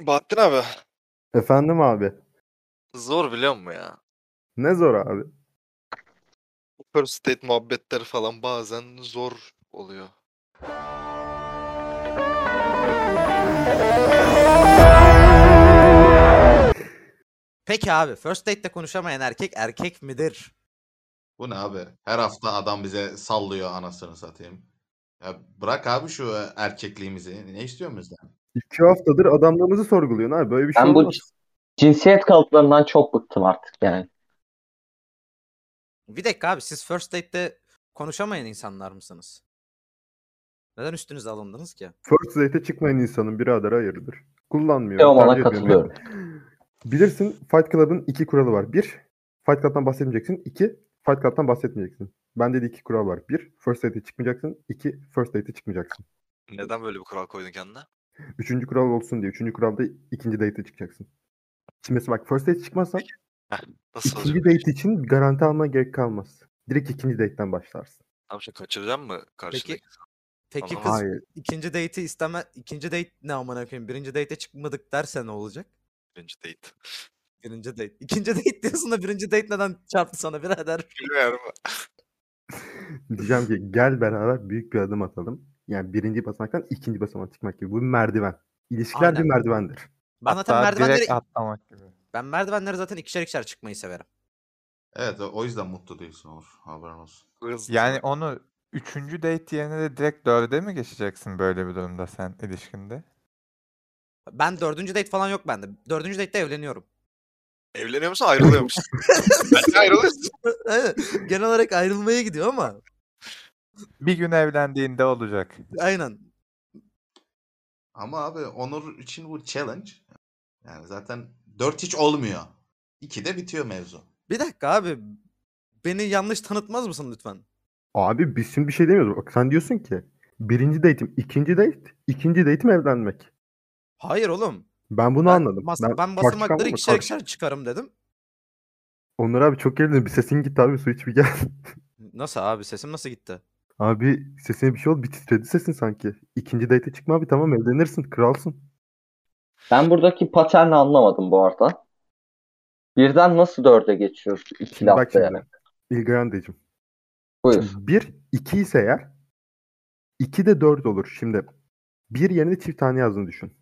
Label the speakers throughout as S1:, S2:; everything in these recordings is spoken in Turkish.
S1: Bahattin abi
S2: Efendim abi.
S1: zor biliyor musun ya?
S2: Ne zor abi.
S1: Bu First date muhabbetleri falan bazen zor oluyor.
S3: Peki abi first date'te konuşamayan erkek erkek midir?
S4: Bu ne abi? Her hafta adam bize sallıyor anasını satayım. Ya bırak abi şu e, erkekliğimizi. Ne istiyorsun bizden?
S2: İki haftadır adamlığımızı sorguluyorsun abi. Böyle bir şey
S5: Ben bu
S2: olmaz.
S5: cinsiyet kalıplarından çok bıktım artık yani.
S3: Bir dakika abi siz first date'te konuşamayan insanlar mısınız? Neden üstünüze alındınız ki?
S2: First date'e çıkmayan insanın birader hayırdır. Kullanmıyor.
S5: Teoman'a
S2: tercih etmiyor.
S5: Şey katılıyorum.
S2: Bilirsin Fight Club'ın iki kuralı var. Bir, Fight Club'dan bahsetmeyeceksin. İki, Fight Club'dan bahsetmeyeceksin. Bende de iki kural var. Bir, First date'e çıkmayacaksın. İki, First date'e çıkmayacaksın.
S1: Neden böyle bir kural koydun kendine?
S2: Üçüncü kural olsun diye. Üçüncü kuralda ikinci date'e çıkacaksın. Şimdi mesela bak first date çıkmazsan
S1: Nasıl olacak?
S2: ikinci date için garanti almaya gerek kalmaz. Direkt ikinci date'den başlarsın.
S1: Abi şey kaçıracak mı karşındaki?
S3: Peki
S1: Tamam.
S3: kız
S2: Hayır.
S3: ikinci date'i isteme ikinci date ne amına koyayım? Birinci date'e çıkmadık derse ne olacak?
S1: Birinci date.
S3: Birinci date. İkinci date diyorsun da birinci date neden çarptı sana birader?
S1: Bilmiyorum.
S2: Diyeceğim ki gel beraber büyük bir adım atalım. Yani birinci basamaktan ikinci basamağa çıkmak gibi. Bu bir merdiven. İlişkiler
S3: Aynen.
S2: bir merdivendir.
S3: Ben zaten merdivenleri,
S6: atlamak gibi.
S3: ben merdivenleri zaten ikişer ikişer çıkmayı severim.
S4: Evet o o yüzden mutlu değilsin Onur. Haberin olsun.
S1: Hızlı.
S6: Yani onu üçüncü date yerine de direkt dörde mi geçeceksin böyle bir durumda sen ilişkinde?
S3: Ben dördüncü date falan yok bende. Dördüncü date'te evleniyorum.
S1: Evleniyor musun ayrılıyor musun? Bence ayrılıyorsun.
S3: Evet, Genel olarak ayrılmaya gidiyor ama
S6: Bir gün evlendiğinde olacak.
S3: aynen.
S4: Ama abi Onur için bu challenge. Yani zaten 4 hiç olmuyor. 2'de bitiyor mevzu.
S3: Bir dakika abi. Beni yanlış tanıtmaz mısın lütfen?
S2: Abi biz şimdi bir şey demiyoruz. Bak sen diyorsun ki birinci date'im ikinci date, ikinci date'im evlenmek.
S3: Hayır oğlum.
S2: Ben bunu
S3: Ben
S2: anladım.
S3: bas-
S2: ben,
S3: ben,
S2: tartışkan
S3: basamakları
S2: var mı?
S3: ikişer
S2: Tartış-
S3: ikişer çıkarım dedim.
S2: Onur abi çok geldin. Bir sesin gitti abi. Su iç bir gel.
S3: Nasıl abi sesim nasıl gitti?
S2: Abi sesine bir şey oldu. Bir titredi sesin sanki. İkinci date'e çıkma abi. Tamam evlenirsin. Kralsın.
S5: Ben buradaki paterni anlamadım bu arada. Birden nasıl dörde geçiyoruz iki
S2: Şimdi bak
S5: lafta
S2: şimdi.
S5: yani?
S2: İlgirendeciğim.
S5: Buyur.
S2: 1 2 ise eğer 2 de 4 olur. Şimdi 1 yerine çift tane yazdığını düşün.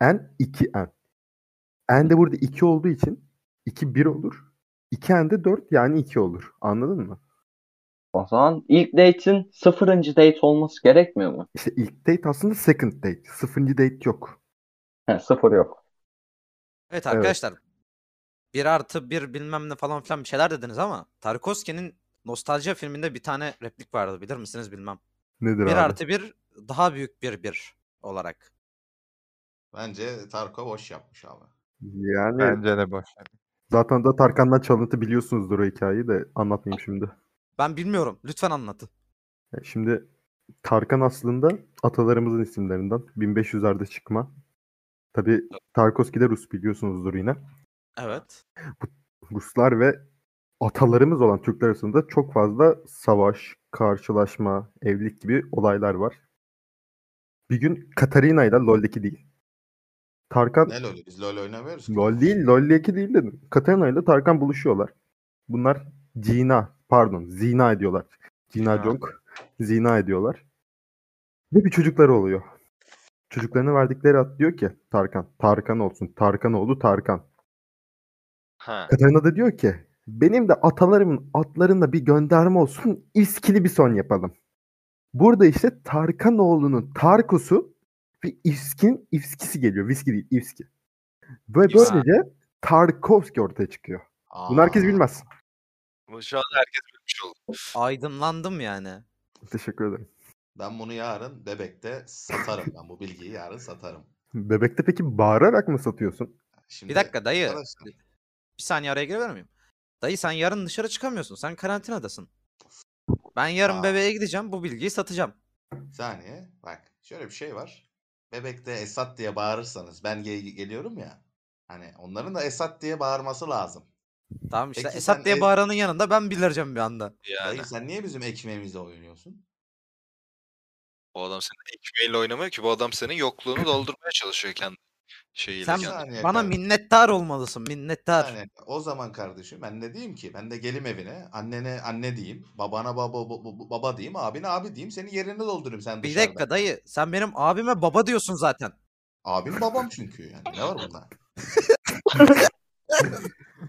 S2: N 2 N. N de burada 2 olduğu için 2 1 olur. 2 N de 4 yani 2 olur. Anladın mı?
S5: O zaman ilk date'in sıfırıncı date olması gerekmiyor mu?
S2: İşte ilk date aslında second date. Sıfıncı date yok.
S5: He, sıfır yok.
S3: Evet arkadaşlar. Bir artı bir bilmem ne falan filan bir şeyler dediniz ama Tarkovski'nin Nostalji filminde bir tane replik vardı bilir misiniz bilmem.
S2: Nedir
S3: Bir
S2: abi?
S3: artı bir daha büyük bir bir olarak.
S4: Bence Tarkov boş yapmış abi.
S2: Yani
S6: Bence de boş. ver.
S2: zaten da Tarkan'dan çalıntı biliyorsunuzdur o hikayeyi de anlatmayayım şimdi.
S3: Ben bilmiyorum. Lütfen anlat.
S2: Yani E, Şimdi Tarkan aslında atalarımızın isimlerinden. 1500'lerde çıkma. Tabi Tarkovski de Rus biliyorsunuzdur yine.
S3: Evet.
S2: Ruslar ve atalarımız olan Türkler arasında çok fazla savaş, karşılaşma, evlilik gibi olaylar var. Bir gün Katarina ile LoL'deki değil. Tarkan
S4: Ne LoL'ü? Biz LoL oynamıyoruz ki.
S2: LoL değil, LoL'deki değil dedim. Katarina ile Tarkan buluşuyorlar. Bunlar Cina, pardon Zina ediyorlar. Cina
S6: Zina.
S2: Jong. Zina ediyorlar. Ve bir çocukları oluyor. Çocuklarına verdikleri at diyor ki Tarkan. Tarkan olsun. Tarkan oğlu Tarkan.
S1: Ha.
S2: Katarina da diyor ki benim de atalarımın atlarında bir gönderme olsun İskili bir son yapalım. Burada işte Tarkanoğlu'nun Tarkusu ve İskin İskisi geliyor. Viski değil İski. Ve
S1: İvski.
S2: böylece Tarkovski ortaya çıkıyor. Bunu herkes
S4: Aa,
S2: bilmez.
S1: Bu şu an herkes bilmiş oldu.
S3: Aydınlandım yani.
S2: Teşekkür ederim.
S4: Ben bunu yarın bebekte satarım. ben bu bilgiyi yarın satarım.
S2: Bebekte peki bağırarak mı satıyorsun?
S4: Şimdi
S3: Bir dakika dayı.
S4: arkadaşlar-
S3: Bir saniye araya girebilir miyim? Dayı sen yarın dışarı çıkamıyorsun. Sen karantinadasın. Ben yarın
S4: Aa.
S3: bebeğe gideceğim. Bu bilgiyi satacağım.
S4: Bir saniye. Bak şöyle bir şey var. Bebekte Esat diye bağırırsanız ben ge- geliyorum ya. Hani onların da Esat diye bağırması lazım.
S3: Tamam işte
S4: Peki
S3: Esat
S4: sen
S3: diye
S4: ev-
S3: bağıranın yanında ben bilireceğim bir anda.
S1: Yani
S4: Dayı sen niye bizim ekmeğimizle oynuyorsun?
S1: bu adam senin ekmeğiyle oynamıyor ki. Bu adam senin yokluğunu doldurmaya çalışıyor kendi. şeyiyle
S3: Sen
S1: geldi.
S4: saniye
S3: Bana
S4: kardeşim,
S3: minnettar olmalısın minnettar.
S4: bir saniye. O zaman kardeşim ben ne diyeyim ki? Ben de gelim evine, annene anne diyeyim, babana baba baba, baba diyeyim, abine abi diyeyim, senin yerini doldurayım sen
S3: bir
S4: dışarıda.
S3: dakika dayı sen benim abime baba diyorsun zaten.
S4: Abim babam çünkü yani ne var bunda?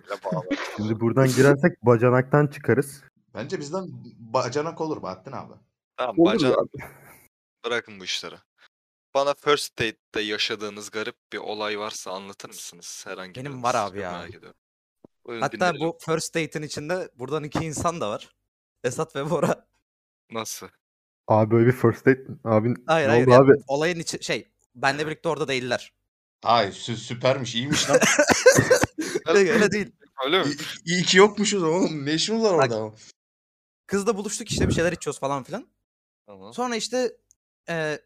S1: Öyle bağlı.
S2: Şimdi buradan girersek bacanaktan çıkarız.
S4: Bence bizden bacanak olur Bahattin abi.
S1: Tamam
S2: Olur
S1: bacan
S2: abi.
S1: bırakın bu işleri. Bana first date'te yaşadığınız garip bir olay varsa anlatır mısınız? Herhangi
S3: Benim
S1: biriniz.
S3: var abi
S1: Çok
S3: ya.
S1: merak ediyorum. Buyurun
S3: Hatta
S1: dinleyelim.
S3: bu first date'in içinde buradan iki insan da var. Esat ve Bora.
S1: Nasıl?
S2: Abi böyle bir first date abin
S3: Hayır
S2: ne
S3: hayır.
S2: oldu
S3: ya,
S2: abi?
S3: Olayın içi şey benle birlikte orada değiller.
S4: Ay sü- süpermiş, iyiymiş lan.
S3: Öyle değil.
S1: Öyle mi?
S4: İyi, iyi ki yokmuşuz oğlum. Ne işimiz var orada?
S3: Kızla buluştuk işte bir şeyler içiyoruz falan filan.
S1: Tamam.
S3: Sonra işte e,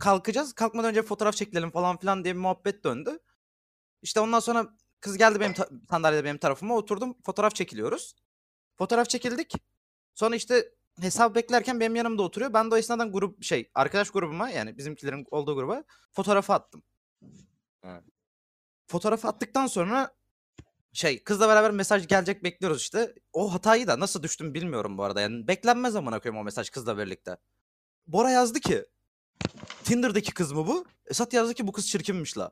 S3: kalkacağız. Kalkmadan önce fotoğraf çekilelim falan filan diye bir muhabbet döndü. İşte ondan sonra kız geldi benim ta- sandalyede benim tarafıma oturdum. Fotoğraf çekiliyoruz. Fotoğraf çekildik. Sonra işte hesap beklerken benim yanımda oturuyor. Ben de o esnadan grup şey arkadaş grubuma yani bizimkilerin olduğu gruba fotoğrafı attım.
S1: Evet.
S3: Fotoğrafı attıktan sonra şey kızla beraber mesaj gelecek bekliyoruz işte. O hatayı da nasıl düştüm bilmiyorum bu arada. Yani beklenmez amına koyayım o mesaj kızla birlikte. Bora yazdı ki Tinder'daki kız mı bu? Esat yazdı ki bu kız çirkinmiş la.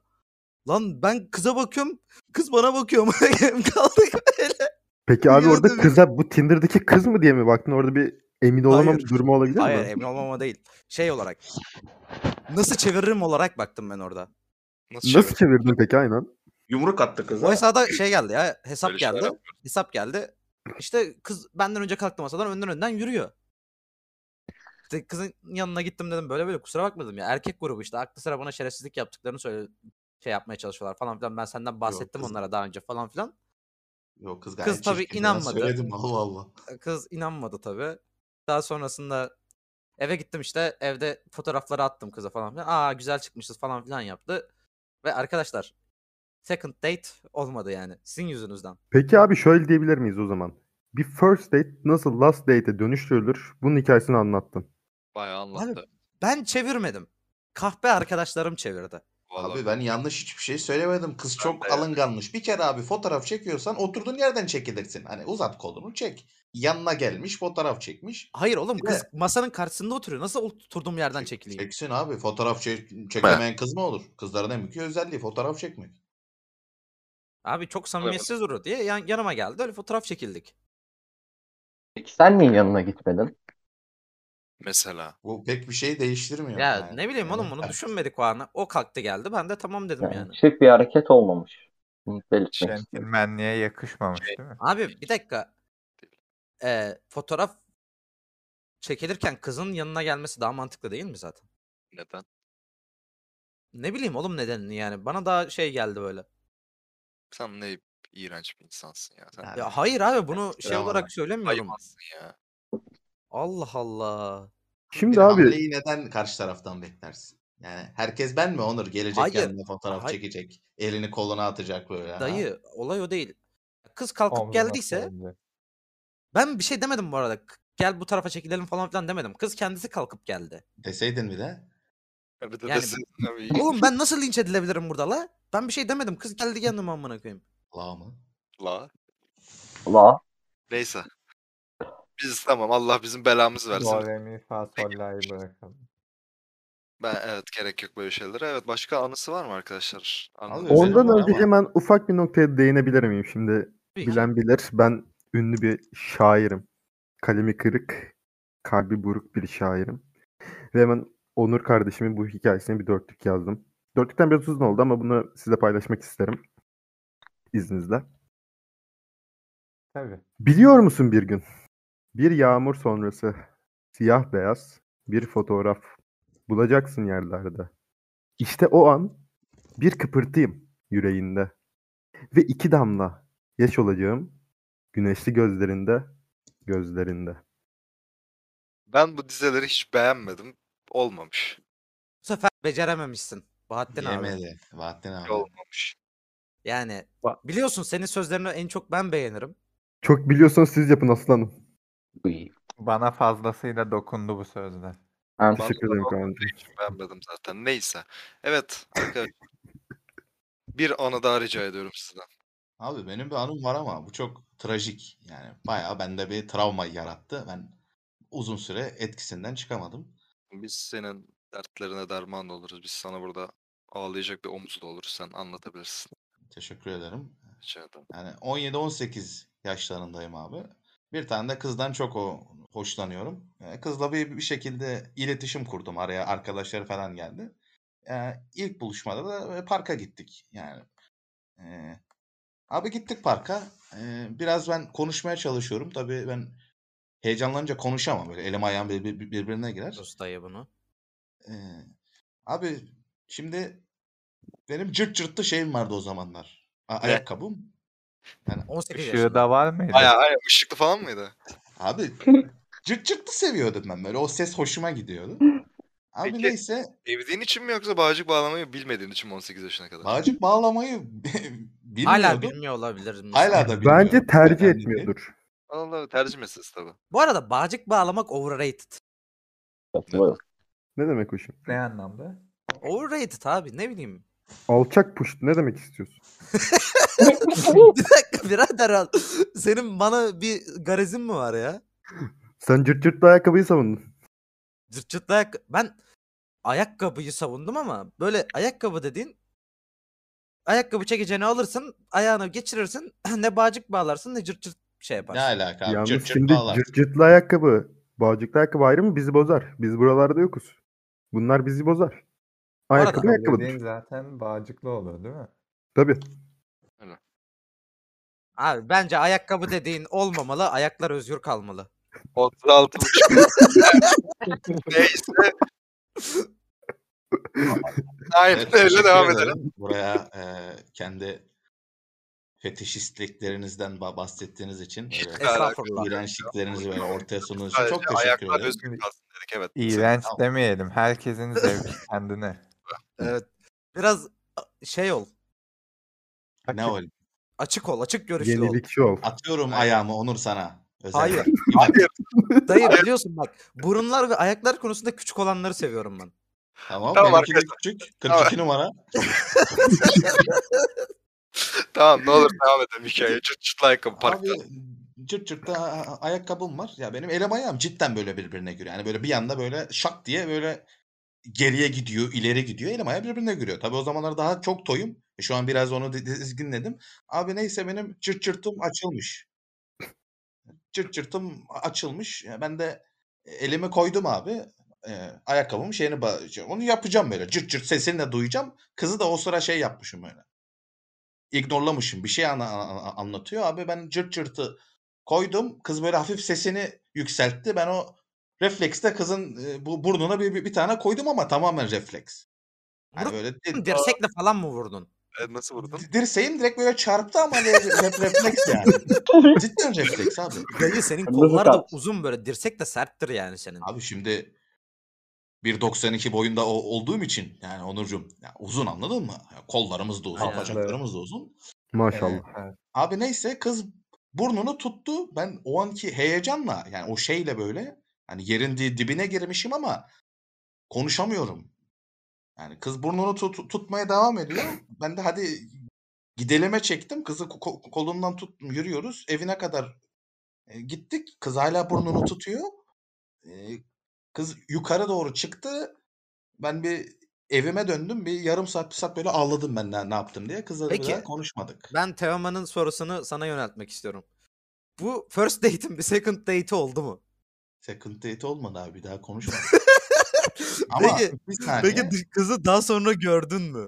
S3: Lan ben kıza bakıyorum, kız bana bakıyor. amına koyayım. Kaldık böyle.
S2: Peki abi orada
S3: Gördüm.
S2: kıza bu Tinder'daki kız mı diye mi baktın? Orada bir emin olamam
S3: Hayır.
S2: durumu olabilir
S3: Hayır
S2: mi?
S3: emin olmama değil. Şey olarak. Nasıl çeviririm olarak baktım ben orada.
S1: Nasıl,
S2: Nasıl çevirdin peki aynen?
S4: Yumruk attı
S3: O hesaba şey geldi ya hesap
S1: Böyle şeyler
S3: geldi.
S1: yapmıyorum.
S3: Hesap geldi. İşte kız benden önce kalktı masadan önden önden yürüyor. İşte kızın yanına gittim dedim böyle böyle kusura bakmadım ya erkek grubu işte aklı sıra bana şerefsizlik yaptıklarını söyle şey yapmaya çalışıyorlar falan filan ben senden bahsettim
S4: kız-
S3: onlara daha önce falan filan.
S4: Yok kız gayet
S3: Kız tabii
S4: çirkin. Ben
S3: inanmadı.
S4: Söyledim Allah Allah.
S3: Kız inanmadı tabii. Daha sonrasında eve gittim işte evde fotoğrafları attım kıza falan filan. Aa güzel çıkmışız falan filan yaptı. Ve arkadaşlar second date olmadı yani sizin yüzünüzden.
S2: Peki abi şöyle diyebilir miyiz o zaman? Bir first date nasıl last date'e dönüştürülür? Bunun hikayesini anlattın.
S1: Bayağı anlattı.
S3: Ben çevirmedim. Kahpe arkadaşlarım çevirdi.
S1: Vallahi.
S4: Abi ben yanlış hiçbir şey söylemedim. Kız çok
S1: de.
S4: alınganmış. Bir kere abi fotoğraf çekiyorsan oturduğun yerden çekilirsin. Hani uzat kolunu çek. Yanına gelmiş fotoğraf çekmiş.
S3: Hayır oğlum
S4: Bir
S3: kız masanın karşısında oturuyor. Nasıl oturduğum yerden
S4: Çek-
S3: çekileyim?
S4: Çeksin abi. Fotoğraf çek- çekemeyen kız mı olur? Kızların en büyük özelliği fotoğraf çekmek.
S3: Abi çok samimiyetsiz durur diye yan- yanıma geldi. Öyle fotoğraf çekildik.
S5: Peki sen niye yanına gitmedin?
S1: Mesela.
S4: Bu pek bir şey değiştirmiyor.
S3: Ya
S4: yani.
S3: ne bileyim oğlum
S4: Yani
S3: bunu düşünmedik o an. O kalktı geldi. Ben de tamam dedim
S5: Yani
S3: yani.
S4: şey
S5: şık bir hareket olmamış. Bunu belirtmek istedim.
S6: Centilmenliğe yakışmamış değil mi?
S3: Abi bir dakika. Ee, fotoğraf çekilirken kızın yanına gelmesi daha mantıklı değil mi zaten?
S1: Neden?
S3: Ne bileyim oğlum nedenini yani. Bana daha şey geldi böyle.
S1: Sen ne iğrenç bir insansın ya. Sen
S4: Yani.
S3: Ya hayır abi bunu şey
S4: Tamam
S3: olarak
S4: abi.
S3: söylemiyorum.
S1: ayıpsın ya.
S3: Allah Allah.
S4: bir
S2: Şimdi abi
S4: hamleyi neden karşı taraftan beklersin? Yani herkes ben mi Onur? Gelecek
S3: Hayır.
S4: yanına fotoğraf
S3: Hayır.
S4: çekecek. Elini koluna atacak böyle. ha?
S3: Dayı olay o değil. Kız kalkıp
S6: Omzuna
S3: geldiyse
S6: koyunca.
S3: ben bir şey demedim bu arada. K- Gel bu tarafa çekilelim falan filan demedim. Kız kendisi kalkıp geldi.
S4: Deseydin bir de.
S1: Ya Bir de
S3: Yani-
S1: desin tabii.
S3: Oğlum ben nasıl linç edilebilirim burada la? Ben bir şey demedim. Kız geldi yanıma amına koyayım.
S4: La mı?
S1: La.
S5: La.
S1: Neyse. Biz tamam Allah bizim belamızı versin.
S6: Do, re, mi, fa, sol, la'yı bırakalım.
S1: Ben evet gerek yok böyle şeylere. Evet başka anısı var mı arkadaşlar? Anı
S4: Abi,
S1: özel-
S4: Özelim
S2: ondan
S4: var
S2: önce
S4: ama.
S2: hemen ufak bir noktaya değinebilir miyim? Şimdi
S3: Tabii ki.
S2: bilen bilir ben ünlü bir şairim. Kalemi kırık, kalbi buruk bir şairim. Ve hemen Onur kardeşimin bu hikayesine bir dörtlük yazdım. Dörtlükten biraz uzun oldu ama bunu size paylaşmak isterim. İzninizle.
S6: Tabii.
S2: Biliyor musun bir gün? Bir yağmur sonrası siyah beyaz bir fotoğraf bulacaksın yerlerde. İşte o an bir kıpırtıyım yüreğinde ve iki damla yaş olacağım güneşli gözlerinde gözlerinde.
S1: Ben bu dizeleri hiç beğenmedim. Olmamış.
S3: Bu sefer becerememişsin. Bahattin abi.
S4: Yemedi. Bahattin abi.
S1: Olmamış.
S3: Yani
S6: Ba-
S3: biliyorsun senin sözlerini en çok ben beğenirim.
S2: Çok biliyorsanız siz yapın aslanım.
S5: Uy.
S6: Bana fazlasıyla dokundu bu sözler.
S5: Ben
S1: Bana
S2: Teşekkür
S1: da
S2: ederim
S1: olmadığı
S2: Kaan'cığım.
S1: için beğenmedim zaten. Neyse. Evet arkadaşlar. Bir anı daha rica ediyorum sizden.
S4: Abi benim bir anım var ama bu çok trajik. Yani bayağı bende bir travma yarattı. Ben uzun süre etkisinden çıkamadım.
S1: Biz senin dertlerine derman oluruz. Biz sana burada ağlayacak bir omuz da oluruz. Sen anlatabilirsin.
S4: Teşekkür ederim.
S1: Rica ederim.
S4: Yani 17-18 yaşlarındayım abi. Bir tane de kızdan çok o hoşlanıyorum. Ee, Kızla bir, bir şekilde iletişim kurdum. Araya arkadaşları falan geldi. Ee, ilk buluşmada da böyle parka gittik. Yani ee, abi gittik parka. Ee, biraz ben konuşmaya çalışıyorum. Tabii ben heyecanlanınca konuşamam. Böyle elim ayağım bir- bir- birbirine girer.
S3: Ustaya bunu.
S4: Ee, abi şimdi benim cırt cırtlı şeyim vardı o zamanlar. A- ayakkabım. Yani
S3: 18
S6: Işığı
S3: yaşında.
S6: da var mıydı?
S1: Aya aya ışıklı falan mıydı?
S4: Abi cırt cırtlı seviyordum ben böyle. O ses hoşuma gidiyordu. Abi
S1: Peki.
S4: neyse
S1: Evdiğin için mi yoksa bağcık bağlamayı bilmediğin için mi 18 yaşına kadar?
S4: bağcık bağlamayı bilmiyordum.
S3: Hala bilmiyor olabilir. mi?
S4: Hala da bilmiyorum.
S2: Bence tercih
S4: Önemli değil.
S2: etmiyordur.
S1: Allah tercih meselesi tabii.
S3: Bu arada bağcık bağlamak overrated.
S5: Katılıyorum.
S2: Ne demek o şimdi?
S6: Ne anlamda?
S3: Overrated abi ne bileyim.
S2: Alçak puşt ne demek istiyorsun?
S3: bir dakika birader al. Senin bana bir garezin mi var ya?
S2: Sen cırt cırtlı ayakkabıyı savundun.
S3: Cırt cırtlı ayak- Ben ayakkabıyı savundum ama böyle ayakkabı dediğin ayakkabı çekeceğini alırsın, ayağına geçirirsin, ne bağcık bağlarsın ne cırt cırt şey
S4: Ne
S3: yaparsın.
S4: alaka abi
S2: Yalnız
S4: cırt cırt
S2: şimdi
S4: bağlar.
S2: cırt cırtlı ayakkabı, bağcıklı ayakkabı ayrı mı bizi bozar. Biz buralarda yokuz. Bunlar bizi bozar.
S3: arada
S2: Ayakkabı
S6: Dediğin
S2: ayakkabıdır.
S6: zaten bağcıklı oluyor değil mi?
S2: Tabii.
S3: Abi bence ayakkabı dediğin olmamalı, ayaklar özgür kalmalı.
S1: 36 Neyse. Aynen
S4: Evet,
S1: öyle
S4: teşekkür
S1: devam edelim.
S4: Buraya e, kendi fetişistliklerinizden ba- bahsettiğiniz için
S1: Hiç
S4: böyle
S3: Estağfurullah.
S4: iğrençliklerinizi böyle ortaya sunduğunuz için
S1: Sadece
S4: çok teşekkür
S1: ayaklar
S4: ederim.
S1: özgür kalsın dedik evet.
S6: İğrenç
S4: Tamam.
S6: demeyelim. Herkesin zevki kendine.
S3: Evet. Biraz a- şey ol.
S4: Ne ol?
S3: Açık ol, açık görüşlü ol.
S2: Yenilikçi ol.
S4: Atıyorum
S1: Hayır.
S4: ayağımı Onur sana.
S3: Hayır.
S4: Özellikle. Bak,
S1: Hayır.
S3: Dayı biliyorsun bak burunlar ve ayaklar konusunda küçük olanları seviyorum ben.
S4: Tamam.
S1: Tamam
S4: benimki de
S1: arkadaşlar.
S4: küçük. 42
S1: Tamam.
S4: numara.
S1: Tamam ne olur devam edelim hikayeye. Çıt çıtlı ayakkabı parkta.
S4: Abi cırt cırt da a- a- ayakkabım var. Ya benim elim ayağım cidden böyle birbirine giriyor. Yani böyle bir anda böyle şak diye böyle geriye gidiyor, ileri gidiyor. Elim ayağım birbirine giriyor. Tabii o zamanlar daha çok toyum. E, Şu an biraz onu di- dizginledim. Abi neyse benim cırt cırtım açılmış. Cırt cırtım a- açılmış. Ya ben de elimi koydum abi. E, ayakkabımın şeyini ba- şey, onu yapacağım böyle. Cırt cırt sesini de duyacağım. Kızı da o sıra şey yapmışım böyle. ignorlamışım. Bir şey ana- ana- anlatıyor. Abi ben cırt cırtı koydum. Kız böyle hafif sesini yükseltti. Ben o reflekste kızın e, bu burnuna bir, bir, bir tane koydum ama tamamen refleks. Hani
S3: Vurup
S4: böyle di-
S3: dirsekle falan mı vurdun?
S1: E, Nasıl vurdun?
S4: di- dirseğim direkt böyle çarptı ama re- re- refleks yani. Cidden refleks abi.
S3: Dayı senin
S5: Nasıl
S3: kollar da
S5: tartış-
S3: uzun böyle dirsek de serttir yani senin.
S4: Abi şimdi 1.92 boyunda o- olduğum için yani Onurcuğum ya uzun anladın mı? Ya Kollarımız da uzun,
S3: Aynen.
S4: bacaklarımız da uzun.
S2: Maşallah.
S6: Evet.
S4: Abi neyse kız burnunu tuttu. Ben o anki heyecanla yani o şeyle böyle hani yerin di- dibine girmişim ama konuşamıyorum. Yani kız burnunu tut- tutmaya devam ediyor. Ben de hadi gideleme çektim. Kızı ko- ko- kolundan tuttum yürüyoruz. Evine kadar e, gittik. Kız hala burnunu tutuyor. E, kız yukarı doğru çıktı. Ben bir evime döndüm. Bir yarım saat bir saat böyle ağladım ben ne, ne yaptım diye. Kızla bir
S3: Peki.
S4: daha konuşmadık.
S3: Ben Teoman'ın sorusunu sana yöneltmek istiyorum. Bu first date'in bir second date'i oldu mu?
S4: Second date olmadı abi bir daha konuşmadık. Ama
S3: Peki,
S4: bir saniye
S3: peki dış- kızı daha sonra gördün mü?
S1: Gördün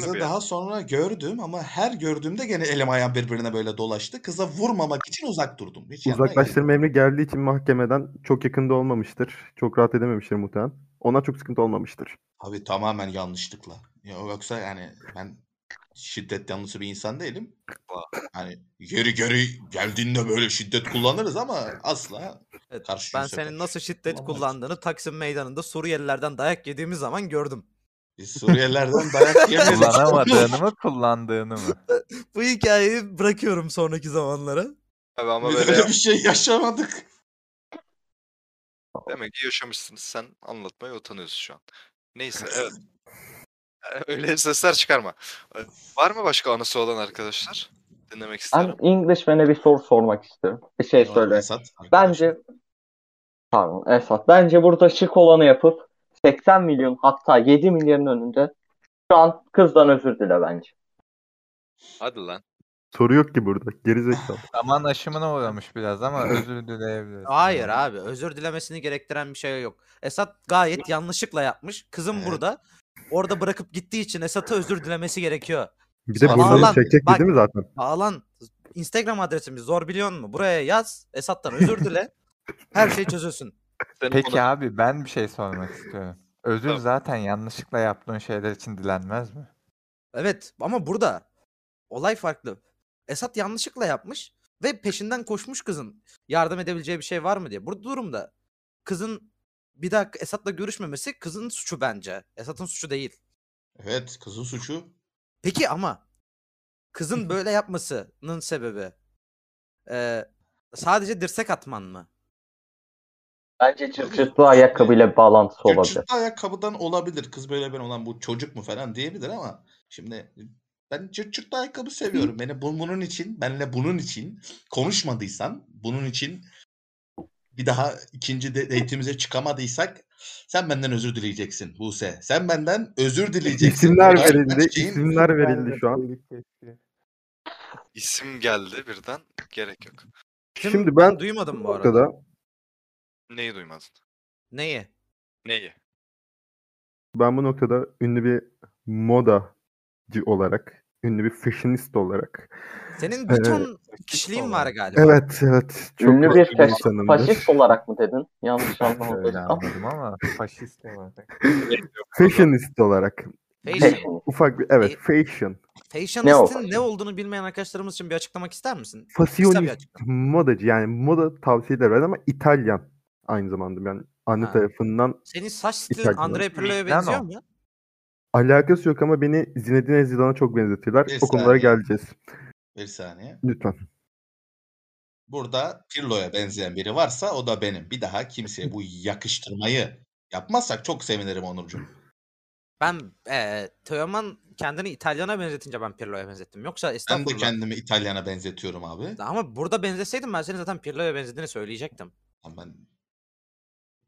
S1: mü
S4: kızı
S1: bir?
S4: daha sonra gördüm ama her gördüğümde gene elim ayağım birbirine böyle dolaştı. Kıza vurmamak için uzak durdum.
S3: şey
S4: Hiç yanına
S2: Uzaklaştırma emri geldiği için mahkemeden çok yakında olmamıştır. Çok rahat edememiştir muhtemelen. Ona çok sıkıntı olmamıştır.
S4: Abi tamamen yanlışlıkla. Ya yoksa yani ben şiddet yanlısı bir insan değilim.
S1: Vah.
S4: Hani geri geri geldiğinde böyle şiddet kullanırız ama asla
S3: Evet,
S4: karşı
S3: ben
S4: cinse
S3: senin
S4: karşı
S3: nasıl şiddet
S4: kullanmayız.
S3: kullandığını Taksim Meydanı'nda Suriyelilerden dayak yediğimiz zaman gördüm.
S4: Biz Suriyelilerden dayak yemeyiz.
S6: Kullanamadığını mı kullandığını mı?
S3: Bu hikayeyi bırakıyorum sonraki zamanlara.
S1: Abi ama
S4: Biz
S1: böyle
S4: öyle bir şey yaşamadık.
S1: demek ki yaşamışsınız. Sen anlatmaya utanıyorsun şu an. Neyse evet. Öyle sesler çıkarma. Ee, Var mı başka anısı olan arkadaşlar? Dinlemek isterim.
S5: Ben Englishman'e bir soru sormak istiyorum. Bir şey söyle.
S4: Esat, arkadaş.
S5: Bence pardon Esat. Bence burada şık olanı yapıp 80 milyon hatta 7 milyonun önünde şu an kızdan özür dile bence.
S1: Hadi lan.
S2: Soru yok ki burada. Gerizekalı.
S6: Zaman aşımına uğramış biraz ama özür dileyebiliriz.
S3: Hayır abi özür dilemesini gerektiren bir şey yok. Esat gayet yanlışlıkla yapmış. Kızım
S4: Evet.
S3: burada. Orada bırakıp gittiği için Esat'a özür dilemesi gerekiyor.
S2: Bir de
S4: Aa,
S2: buradan
S3: lan,
S2: çekecek
S3: bak.
S2: değil mi zaten?
S3: Bağlan Instagram adresimiz zor biliyor mu? Buraya yaz. Esat'tan özür dile. Her şey çözülsün.
S1: Senin
S6: Peki
S1: konu-
S6: abi ben bir şey sormak istiyorum. Özür
S1: Tamam.
S6: zaten yanlışlıkla yaptığın şeyler için dilenmez mi?
S3: Evet ama burada olay farklı. Esat yanlışlıkla yapmış ve peşinden koşmuş kızın yardım edebileceği bir şey var mı diye. Bu durumda kızın bir daha Esat'la görüşmemesi kızın suçu bence. Esat'ın suçu değil.
S4: Evet kızın suçu.
S3: Peki ama kızın böyle yapmasının sebebi eee, sadece dirsek atman mı?
S5: Bence cırcırtlı ayakkabıyla bir bağlantısı olabilir.
S4: Cırcırtlı ayakkabıdan olabilir. Kız böyle ben olan bu çocuk mu falan diyebilir ama şimdi e, ben cırcırtlı ayakkabı seviyorum. Beni bu- bunun için, benle bunun için konuşmadıysan, bunun için bir daha ikinci de date'imize çıkamadıysak sen benden özür dileyeceksin Buse. Sen benden özür dileyeceksin.
S2: İsimler
S4: Bunlar
S2: verildi.
S4: kaç şeyin-
S2: isimler verildi şu an.
S1: İsim geldi birden. Gerek yok.
S3: Kim-
S2: Şimdi ben
S3: duymadım bu arada.
S2: noktada
S1: Neyi duymadın?
S3: Neyi?
S1: Neyi?
S2: ben bu noktada ünlü bir modacı olarak, ünlü bir fashionist olarak.
S3: Senin
S2: Evet.
S3: bir ton kişiliğin var galiba.
S2: Evet, evet. Çok
S5: Ünlü bir
S2: hoş
S5: faşist,
S2: insanımdır.
S5: faşist olarak mı dedin? Yanlış
S6: Öyle
S5: anlamadım.
S6: anladım ama faşist olarak.
S2: Fashionist olarak.
S3: Fashion.
S2: Ufak bir evet,
S3: E-
S2: fashion.
S3: Fashionistin ne,
S5: fashion?
S3: olduğunu bilmeyen arkadaşlarımız için bir açıklamak ister misin? Kısa bir
S2: Fasyonist
S3: açıklama.
S2: modacı yani moda tavsiyeleri veren ama İtalyan aynı zamanda yani anne
S3: Ha.
S2: tarafından
S3: Senin saç stilin
S2: İtalyan.
S3: Andrea Pirlo'ya
S6: Milano.
S3: benziyor mu?
S2: alakası yok ama beni Zinedine Zidane'a çok benzetiyorlar.
S4: Bir
S2: O konulara
S4: saniye.
S2: geleceğiz.
S4: Bir saniye.
S2: Lütfen.
S4: Burada Pirlo'ya benzeyen biri varsa o da benim. Bir daha kimseye bu yakıştırmayı yapmazsak çok sevinirim Onurcuğum.
S3: Ben eee Teoman kendini İtalyan'a benzetince ben Pirlo'ya benzettim. Yoksa
S4: Ben de
S3: estağfurullah.
S4: kendimi İtalyan'a benzetiyorum abi.
S3: Ama burada benzeseydim ben seni zaten Pirlo'ya benzediğini söyleyecektim.
S4: Ama Ben,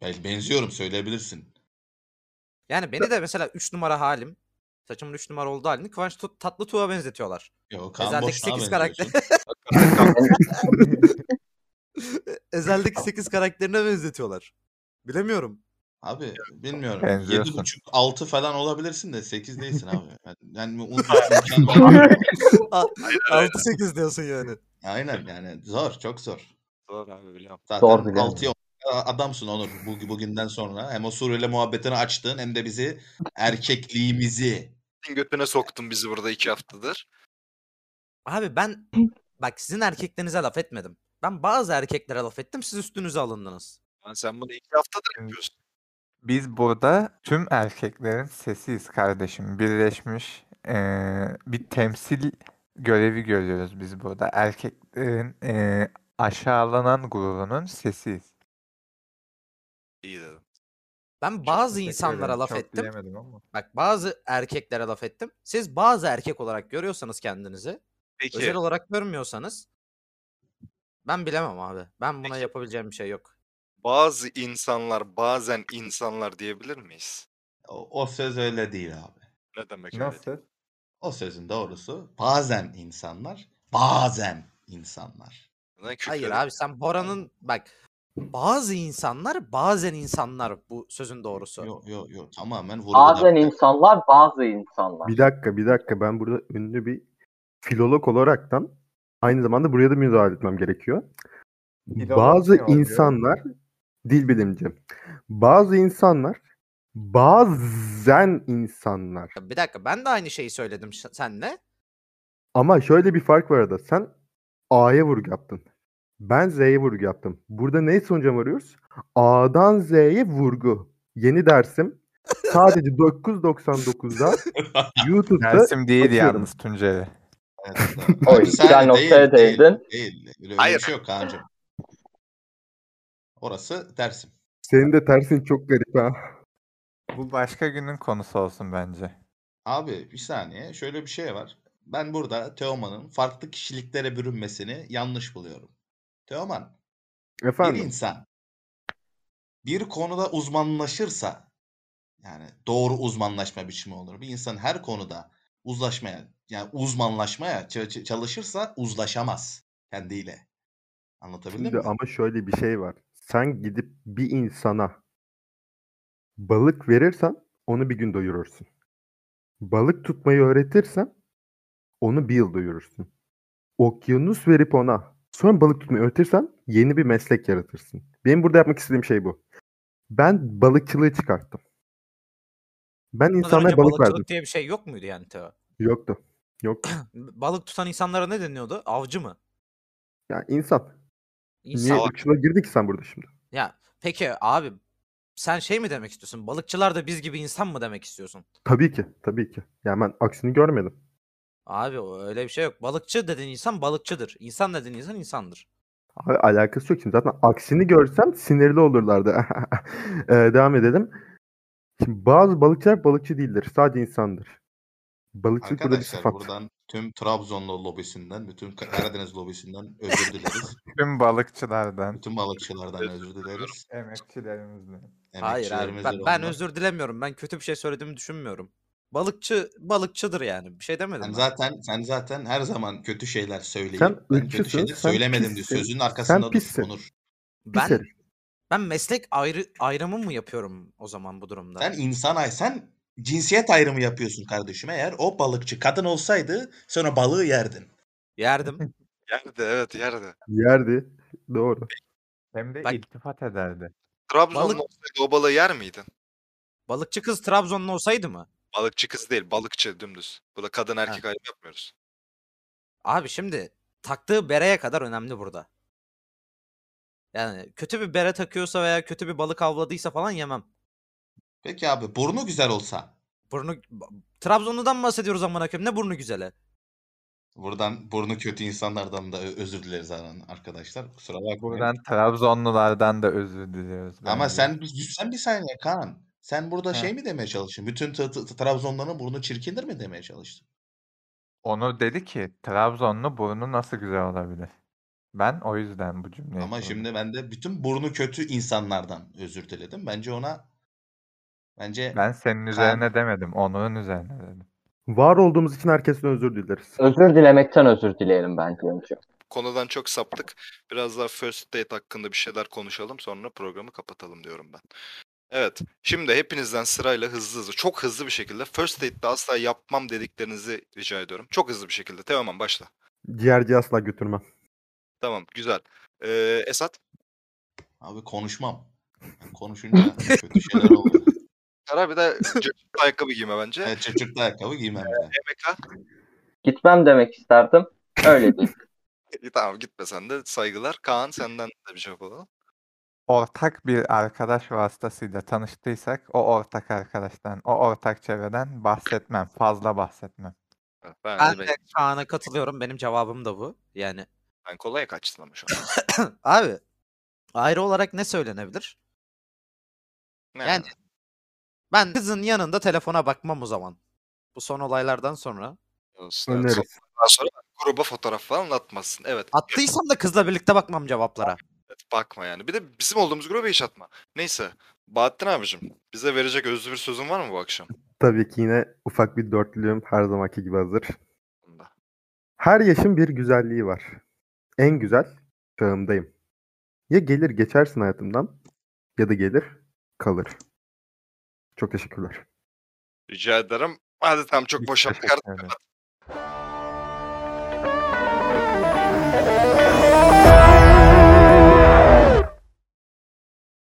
S4: ben benziyorum söyleyebilirsin.
S3: Yani beni de mesela 3 numara halim, saçımın 3 numara olduğu halini Kıvanç Tut- Tatlıtuğ'a benzetiyorlar.
S4: Yok Kaan
S3: Ezeldeki
S4: Boşnak'a
S3: 8
S4: benziyorsun.
S3: karakter. Ezeldeki 8 karakterine benzetiyorlar. Bilemiyorum.
S4: Abi bilmiyorum.
S6: Benziyorsun.
S4: 7,5 6 falan olabilirsin de 8 değilsin abi. Yani- Yani unutma.
S3: 6-8 diyorsun yani.
S4: Aynen yani zor çok zor.
S1: Zor abi öyle yap.
S4: Zaten
S5: Zor bilemem.
S4: 6'ya adamsın Onur bu, bugünden sonra. Hem o Suriyeli muhabbetini açtın hem de bizi erkekliğimizi
S1: Senin götüne soktun bizi burada iki haftadır.
S3: Abi ben bak sizin erkeklerinize laf etmedim. Ben bazı erkeklere laf ettim siz üstünüze alındınız.
S1: Lan sen bunu iki haftadır yapıyorsun.
S6: Biz burada tüm erkeklerin sesiyiz kardeşim. Birleşmiş eee, bir temsil görevi görüyoruz biz burada. Erkeklerin eee, aşağılanan grubunun sesiyiz.
S1: İyi dedim.
S3: Ben bazı
S6: Teşekkür
S3: insanlara
S6: ederim.
S3: laf
S6: Çok
S3: ettim.
S6: diyemedim ama.
S3: Bak bazı erkeklere laf ettim. Siz bazı erkek olarak görüyorsanız kendinizi,
S1: Peki
S3: özel olarak görmüyorsanız ben bilemem abi. Ben buna
S1: Peki.
S3: yapabileceğim bir şey yok.
S1: bazı insanlar bazen insanlar diyebilir miyiz?
S4: o, o söz öyle değil abi.
S1: Ne demek öyle?
S6: Nasıl?
S4: O sözün doğrusu bazen insanlar bazen insanlar.
S1: Lan
S3: Hayır
S1: küfür-
S3: abi sen Bora'nın bak bazı insanlar bazen insanlar bu sözün doğrusu.
S4: Yok yok yok tamamen vurgular.
S5: Bazen insanlar bazı insanlar.
S2: Bir dakika bir dakika ben burada ünlü bir filolog olaraktan aynı zamanda buraya da müdahale etmem gerekiyor.
S6: Filolog
S2: bazı
S6: ne oluyor?
S2: insanlar dil bilimci. Bazı insanlar bazen insanlar.
S3: Bir dakika ben de aynı şeyi söyledim ş- senle.
S2: Ama şöyle bir fark var arada. Sen A'ya vurgu yaptın. Ben Z'ye vurgu yaptım. Burada ne sonuca varıyoruz? A'dan Z'ye vurgu. Yeni dersim sadece 9.99'da YouTube'da
S6: Dersim değil
S2: atıyorum.
S6: yalnız Tunceli.
S4: Evet,
S5: Oy,
S4: Abi sen
S5: güzel
S4: de
S5: noktaya
S4: değil,
S5: değdin.
S4: Değil, değil. Öyle
S1: Hayır.
S4: bir şey yok Kaan'cığım. Orası dersim.
S2: senin de tersin çok garip ha.
S6: Bu başka günün konusu olsun bence.
S4: Abi bir saniye şöyle bir şey var. Ben burada Teoman'ın farklı kişiliklere bürünmesini yanlış buluyorum. Teoman bir
S2: Efendim.
S4: insan bir konuda uzmanlaşırsa yani doğru uzmanlaşma biçimi olur. Bir insan her konuda uzlaşmaya yani uzmanlaşmaya ç- ç- çalışırsa uzlaşamaz kendiyle. Anlatabildim
S2: Şimdi
S4: mi?
S2: ama şöyle bir şey var. Sen gidip bir insana balık verirsen onu bir gün doyurursun. Balık tutmayı öğretirsen onu bir yıl doyurursun. Okyanus verip ona sonra balık tutmayı öğretirsen yeni bir meslek yaratırsın. Benim burada yapmak istediğim şey bu. Ben balıkçılığı çıkarttım. Ben
S3: Bundan önce
S2: insanlara balık
S3: balıkçılık
S2: verdim.
S3: diye bir şey yok muydu yani Teo?
S2: Yoktu. Yoktu.
S3: Balık tutan insanlara ne deniyordu? Avcı mı?
S2: Yani insan.
S3: İnsan.
S2: Niye ırkçılığa girdin ki sen burada şimdi?
S3: Ya peki abi sen şey mi demek istiyorsun? Balıkçılar da biz gibi insan mı demek istiyorsun?
S2: Tabii ki. Tabii ki. Yani ben aksini görmedim.
S3: Abi o- öyle bir şey yok. Balıkçı dediğin insan balıkçıdır. İnsan dediğin insan insandır.
S2: Abi alakası yok şimdi. Zaten aksini görsem sinirli olurlardı. Ee, devam edelim. Şimdi bazı balıkçılar balıkçı değildir. Sadece insandır. Balıkçılık burada bir
S4: Arkadaşlar
S2: sıfat.
S4: buradan tüm Trabzonlu lobisinden, bütün Karadeniz lobisinden özür dileriz.
S6: Tüm balıkçılardan,
S4: bütün balıkçılardan özür
S1: diliyorum.
S4: dileriz.
S6: emekçilerimizden.
S3: Hayır abi
S4: Emekçilerimiz de
S3: ben, ben
S4: onlar.
S3: özür dilemiyorum. Ben kötü bir şey söylediğimi düşünmüyorum. Balıkçı balıkçıdır yani. Bir şey demedim
S4: Sen
S3: ben.
S4: zaten sen zaten her zaman kötü şeyler söyleyip
S2: Sen
S4: ben kötü
S2: ırkçısın,
S4: şeyler
S2: sen
S4: söylemedim diyor.
S2: pissin,
S4: Sözünün
S2: sen
S4: arkasında dur
S2: pissin.
S4: Onur.
S2: Pis
S3: Ben
S2: herif.
S3: ben meslek ayrı ayrımı mı yapıyorum o zaman bu durumda?
S4: Sen insan ay sen cinsiyet ayrımı yapıyorsun kardeşim. Eğer o balıkçı kadın olsaydı sonra balığı yerdin.
S3: Yerdim.
S1: Yerde evet yerde.
S2: Yerdi. Doğru.
S6: Hem de
S3: Bak-
S6: iltifat ederdi.
S1: Trabzonlu
S3: Balık-
S1: olsaydı o balığı yer miydin?
S3: Balıkçı kız Trabzonlu olsaydı mı?
S1: Balıkçı kız değil balıkçı dümdüz. Burada kadın erkek ayrımı yapmıyoruz.
S3: Abi şimdi taktığı bereye kadar önemli burada. Yani kötü bir bere takıyorsa veya kötü bir balık avladıysa falan yemem.
S4: Peki abi burnu güzel olsa
S3: Burnu ba- Trabzonlu'dan bahsediyoruz amına koyayım. Ne burnu güzeli?
S4: buradan burnu kötü insanlardan da ö- özür dileriz aran- arkadaşlar. Kusura bakmayın.
S6: Buradan Trabzonlulardan da özür diliyoruz.
S4: Ama
S6: bence.
S4: sen bir- sen bir saniye Kaan. Sen burada
S6: Ha.
S4: şey mi demeye çalıştın? Bütün t- t- Trabzonların burnu çirkindir mi demeye çalıştın?
S6: Onu dedi ki Trabzonlu burnu nasıl güzel olabilir? Ben o yüzden bu cümleyi
S4: Ama
S6: kurdum.
S4: şimdi ben de bütün burnu kötü insanlardan özür diledim. Bence ona bence
S6: Ben senin üzerine demedim. Onun üzerine dedim.
S2: Var olduğumuz için herkesten özür dileriz.
S5: Özür dilemekten özür dileyelim bence önce.
S1: Konudan çok saptık. Biraz daha first date hakkında bir şeyler konuşalım sonra programı kapatalım diyorum ben. Evet. Şimdi hepinizden sırayla hızlı hızlı çok hızlı bir şekilde first date'de asla yapmam dediklerinizi rica ediyorum. Çok hızlı bir şekilde. Teoman başla.
S2: Ciğerci asla götürmem.
S1: Tamam güzel. Ee, Esat
S4: abi konuşmam. Ben konuşunca kötü şeyler oluyor.
S1: karar bir de çocuklu ayakkabı giyme bence.
S4: Ben çocuklu ayakkabı giymem bile.
S1: MK.
S5: Gitmem demek isterdim. Öyle değil.
S1: İyi, Tamam gitme sen de saygılar. Kaan senden de bir şey cevap alalım.
S6: Ortak bir arkadaş vasıtasıyla tanıştıysak o ortak arkadaştan, o ortak çevreden bahsetmem. Fazla bahsetmem.
S1: Evet, Ben,
S3: Ben
S1: ben,
S3: de Kaan'a katılıyorum. Benim cevabım da bu. Yani
S1: ben kolaya kaçtım ama şu an.
S3: abi ayrı olarak ne söylenebilir?
S1: Ne?
S3: Yani- Ben kızın yanında telefona bakmam o zaman. Bu son olaylardan sonra.
S1: Olsun, evet.
S2: Öneriz.
S1: Ondan sonra gruba fotoğraf falan atmazsın. Evet.
S3: Attıysam da kızla birlikte bakmam cevaplara.
S1: evet, bakma yani. Bir de bizim olduğumuz gruba hiç atma. Neyse. Bahattin abicim bize verecek özlü bir sözün var mı bu akşam?
S2: Tabii ki yine ufak bir dörtlüğüm her zamanki gibi hazır.
S1: Bunda.
S2: Her yaşın bir güzelliği var. En güzel çağımdayım. Ya gelir geçersin hayatımdan ya da gelir kalır. Çok teşekkürler.
S1: Rica ederim. Hadi tamam çok
S6: Hiç
S1: boşalttık
S6: teşekkür
S1: artık.
S6: ederim.